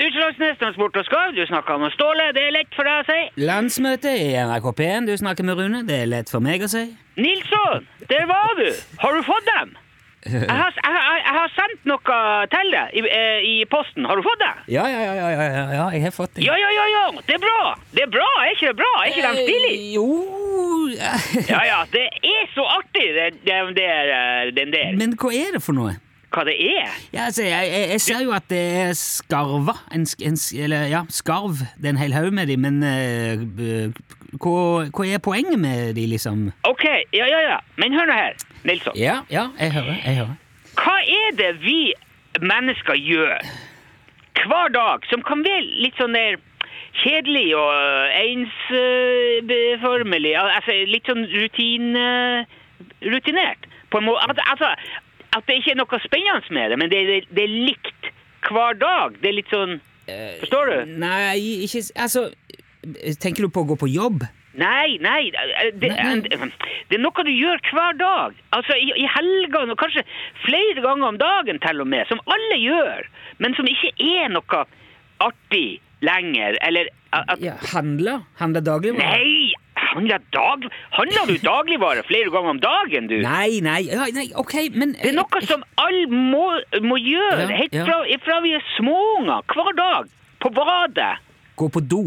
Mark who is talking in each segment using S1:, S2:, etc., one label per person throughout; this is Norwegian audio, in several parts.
S1: Landslagsministeren spurte om Skau, du snakka om Ståle, det er lett for deg å si.
S2: Landsmøte i NRK P1, du snakker med Rune, det er lett for meg å si.
S1: Nilsson, der var du! Har du fått dem? Jeg har, jeg, jeg, jeg har sendt noe til deg i, eh, i posten. Har du fått det?
S2: Ja, ja, ja, ja, ja, ja, jeg har fått det.
S1: Ja, ja, ja, ja! Det er bra! Det er bra, er ikke det bra? Er ikke de stilige?
S2: Eh, Jo
S1: Ja, ja, det er så artig, den den der, eh, den der.
S2: Men hva er det for noe?
S1: Hva det er?
S2: Ja, altså, jeg, jeg, jeg ser jo at det er skarva en, sk- en, s- Eller ja, skarv. Det er en hel haug med de, men eh, b- hva, hva er poenget med de, liksom?
S1: Ok, ja, ja, ja. Men hør nå her, Nilsson.
S2: Ja, ja, jeg hører. jeg hører.
S1: Hva er det vi mennesker gjør hver dag som kan være litt sånn der kjedelig og eh, ensformelig, altså litt sånn rutin, eh, rutinert? På en må- at- altså, at det ikke er noe spennende med det, men det, det, det er likt hver dag. Det er litt sånn Forstår du?
S2: Nei, ikke s- Altså, tenker du på å gå på jobb?
S1: Nei, nei. Det,
S2: Nei,
S1: det er noe du gjør hver dag. Altså i, i helgene, og kanskje flere ganger om dagen til og med, som alle gjør, men som ikke er noe artig lenger, eller at, at-
S2: Ja, handle? Handle dagligvarer?
S1: Nei! Handler, dag, handler du dagligvarer flere ganger om dagen, du?
S2: Nei, nei, ja, nei, ok, men
S1: Det er noe som alle må, må gjøre,
S2: Ja,
S1: helt
S2: ja.
S1: fra, fra vi er småunger, hver dag, på badet.
S2: eh, Gå på do.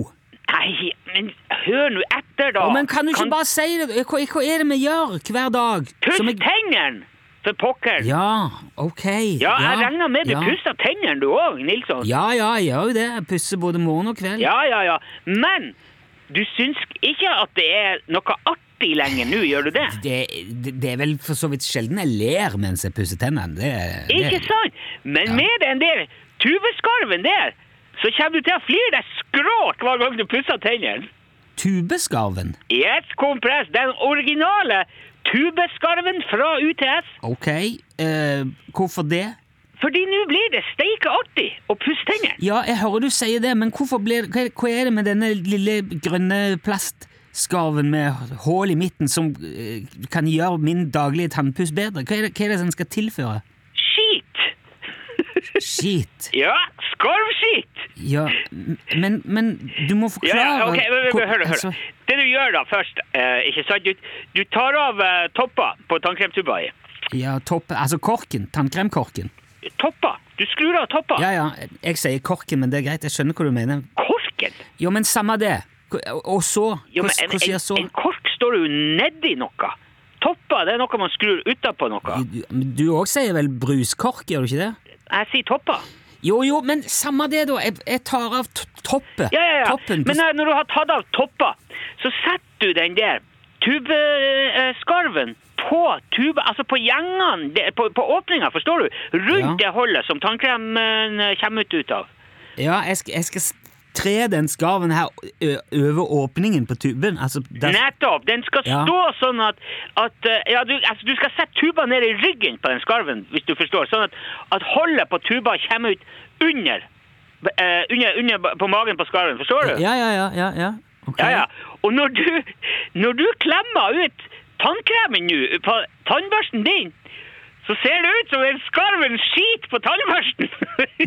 S1: Nei, men hør nå etter, da.
S2: Å, men kan du ikke
S1: Kan-
S2: bare si det? Eh, Hva, hva er det vi gjør hver dag?
S1: Puss
S2: som jeg-
S1: tennene! For pokker! Ja,
S2: Ja, ok.
S1: jeg regner med du
S2: ja.
S1: pusser tennene du òg, Nilsson.
S2: Ja, ja, jeg gjør jo det. Jeg pusser både morgen og kveld.
S1: Ja, ja, ja. Men du syns ikke at det er noe artig lenger nå, gjør du det?
S2: Det, det, det er vel for så vidt sjelden jeg ler mens jeg pusser tennene. Det, det.
S1: Ikke sant? Men med den der tuveskarven der, så kommer du til å flire deg skråt hver gang du pusser tennene.
S2: Tubeskarven.
S1: Yes, kompress! Den originale tubeskarven fra UTS.
S2: Ok, eh, hvorfor det?
S1: Fordi nå blir det steike artig å pusse tennene.
S2: Ja, jeg hører du sier det, men hvorfor blir, hva, er- hva er det med denne lille grønne plastskarven med hål i midten som eh, kan gjøre min daglige tannpuss bedre? Hva er det, hva er det som skal tilføre?
S1: Skit!
S2: Shit.
S1: Ja, skarvskit!
S2: Ja, m- men, men du må
S1: Ja,
S2: forklare
S1: ja, ok, men, men,
S2: hvor-
S1: men, hør, hør.
S2: altså-
S1: Det du gjør da først, eh, ikke sant? Du, du tar av eh, toppa på tannkremtuba i.
S2: Ja, topp, altså korken, tannkremkorken.
S1: Toppa! Du skrur av toppa.
S2: Ja, ja, jeg sier korken, men det er greit, jeg skjønner hva du mener.
S1: Korken!
S2: Jo, men samme det. Hva- Og og så?
S1: Jo,
S2: Hva
S1: men en,
S2: hva skjer så?
S1: en, en kork står jo nedi noe. Toppa det er noe man skrur utapå noe.
S2: Du- men Du òg sier vel bruskork, gjør du ikke det?
S1: Jeg sier toppa.
S2: Jo, jo, men samme det, da. Jeg, jeg tar av t toppet.
S1: Ja, ja, ja.
S2: Toppen. på-
S1: Men eh, når du har tatt av toppa, så setter du den der tubeskarven på tuba, altså på gjengene, det- på, på åpninga, forstår du? Rundt
S2: Ja.
S1: det holdet som tannkremen eh, kommer ut, ut av.
S2: ja, jeg skal, jeg skal s- tre den skarven her ø over åpningen på tuben. Altså, der,
S1: Nettopp! Den skal
S2: Ja.
S1: stå sånn at, at eh, ja, du, altså, du skal sette tuba ned i ryggen på den skarven, hvis du forstår. Sånn at, at holdet på tuba kommer ut under, eh, under, under ba- på magen på skarven. Forstår du?
S2: ja, ja, ja, ja, ja. Ok.
S1: Ja, ja. Og når du, når du klemmer ut tannkremen nå på tannbørsten din, så ser det ut som en skarven skit på tannbørsten!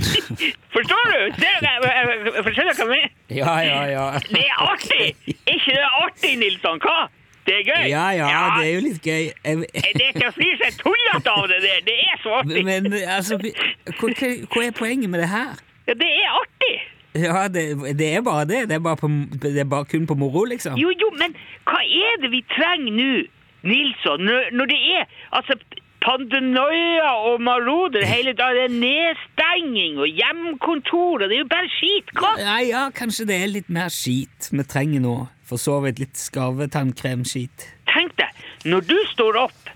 S1: forstår du? Ser du? Jeg- jeg- jeg- jeg Forstår du hva jeg mener?
S2: ja, ja, ja.
S1: Det er artig! Ikke det er artig, Nilsson? Hva? Det er gøy.
S2: Ja, ja, det er jo litt gøy. Jeg,
S1: Det er til å flire seg tullete av det der. Det er så artig.
S2: men altså, hva, hva hva er poenget med det her?
S1: Ja, det er artig.
S2: Ja, det, det er bare det. Det er bare, på, det er bare kun på moro, liksom.
S1: Jo, jo, men hva er det vi trenger nå, Nilsson? Når, når det er altså pandenoia og maroder hele dagen, det er nedstenging og hjemmekontor, og det er jo bare skit. Hva?
S2: Nei, ja, kanskje det er litt mer skit vi trenger nå. For så vidt litt skarvetannkremskit.
S1: Tenk deg, når du står opp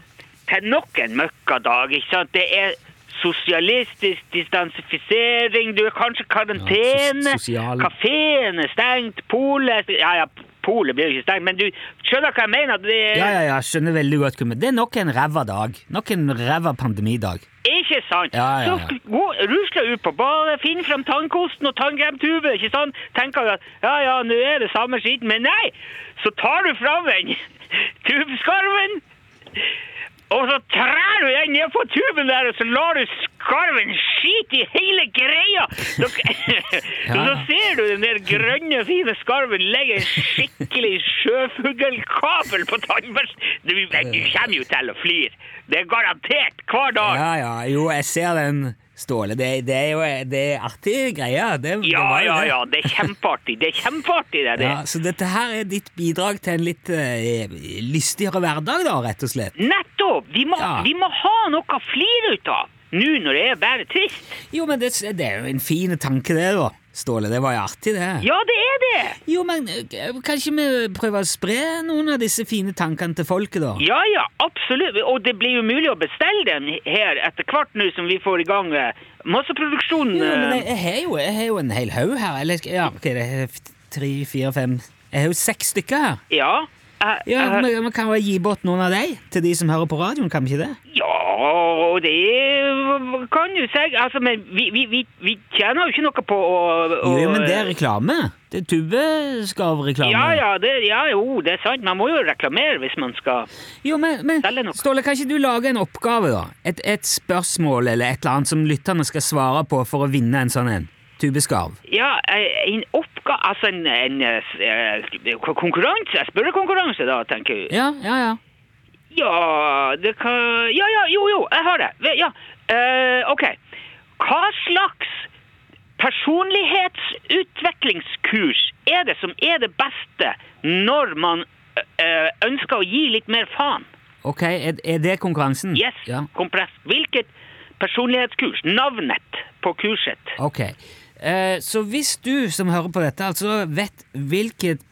S1: til nok en møkkadag, ikke sant? Det er sosialistisk distansifisering, du er kanskje i karantene,
S2: Ja, sos- sosial.
S1: kaféen er stengt, polet er stengt. Ja, ja, polet blir jo ikke stengt, men du skjønner hva jeg mener. Det er
S2: Ja, ja, ja, skjønner veldig godt. Kummer. Det er nok en ræva dag. Nok en ræva pandemidag.
S1: ikke sant.
S2: Ja, ja, ja.
S1: Så gå, rusler ut på badet, finn fram tannkosten og tannkremtuben, ikke sant? Tenker du at ja, ja, nå er det samme skiten, men nei, så tar du fram den tubeskarven. Og så trær du den ned på tuben der, og så lar du skarven skite i hele greia! Så,
S2: Ja.
S1: og så ser du den der grønne, fine skarven legge en skikkelig sjøfuglkabel på tannbørsten! Du, du kommer jo til å flire! Det er garantert hver dag!
S2: Ja, ja, jo, jeg ser den, Ståle. Det, det er jo det er artig greie. Det, det
S1: Ja,
S2: var jo
S1: ja,
S2: det.
S1: ja, det er kjempeartig! Det er kjempeartig, det
S2: Ja,
S1: der!
S2: så dette her er ditt bidrag til en litt eh, lystigere hverdag, da, rett og slett?
S1: Nettopp! Vi må,
S2: Ja.
S1: vi må ha noe å flire ut av! Nå når det er bare trist.
S2: Jo, men det, det er jo en fin tanke, det, da. Ståle, det var jo artig, det.
S1: Ja, det er det!
S2: Jo, men eh, kanskje vi prøver å spre noen av disse fine tankene til folket, da?
S1: Ja, ja, absolutt. Og det blir jo mulig å bestille den her etter hvert nå som vi får i gang eh, masseproduksjonen.
S2: Jo, men jeg,
S1: eh.
S2: jeg, har jo, jeg har jo en hel haug her. Eller ja, ok, det er f- tre, fire, fem Jeg har jo seks stykker her.
S1: Ja. eh,
S2: Ja,
S1: eh,
S2: men, men Kan vi gi bort noen av deg til de som hører på radioen? Kan vi ikke det?
S1: ja, og det kan du si. Altså, men vi, vi, vi, vi tjener jo ikke noe på å, å
S2: Jo, men det er reklame. Det er tubeskavreklame.
S1: eh, Ja, ja, det, ja, jo, det er sant. Man må jo reklamere hvis man skal
S2: Jo, men, men
S1: Selge noe.
S2: Ståle, kan ikke du lage en oppgave, da? Et, et spørsmål eller et eller annet som lytterne skal svare på for å vinne en sånn en? Tubeskarv.
S1: Ja, eh, en oppgave Altså en, en eh, s- eh, konkurranse? Spørrekonkurranse, da, tenker jeg.
S2: Ja, ja, ja.
S1: Ja, det kan Ja, ja, jo, jo, jeg har det. Ve- Ja. eh, OK. Hva slags personlighetsutviklingskurs er det som er det beste når man eh, ønsker å gi litt mer faen?
S2: Ok, er, er det konkurransen?
S1: Yes,
S2: Mm, Ja.
S1: kompress. Hvilket personlighetskurs? Navnet på kurset.
S2: Ok. Eh, så hvis du som hører på dette, altså vet hvilket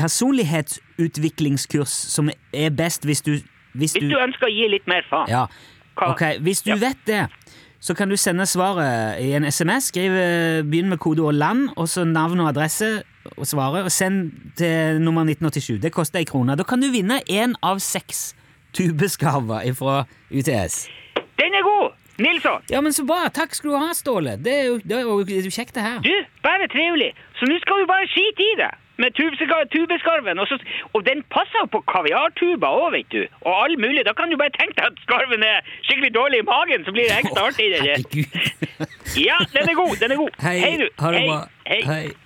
S2: personlighetsutviklingskurs som er best hvis du Hvis
S1: Hvis du ønsker å gi litt mer faen.
S2: Ja.
S1: Hva-
S2: Ok, Hvis du
S1: Ja.
S2: vet det, så kan du sende svaret i en SMS. Skriv, eh, begynn med kodeord 'land', og så navn og adresse og svaret, og send til nummer 1987. Det koster ei krone. Da kan du vinne én av seks tubeskarver fra UTS.
S1: Den er god! Nilsson!
S2: Ja, men Så bra! Takk skal du ha, Ståle. Det er jo, det er jo det er jo kjekt, det her.
S1: Du, bare trivelig. Så nå skal vi bare skite i det. Med tubesika- tubeskarven. Og, så, og den passer jo på kaviartuber òg, vet du. Og all mulig. Da kan du bare tenke deg at skarven er skikkelig dårlig i magen, så blir det ekstra artig. i det.
S2: Herregud.
S1: Ja, den er god. Den er god.
S2: Hei,
S1: du.
S2: ha det bra.
S1: Hei.
S2: Hei.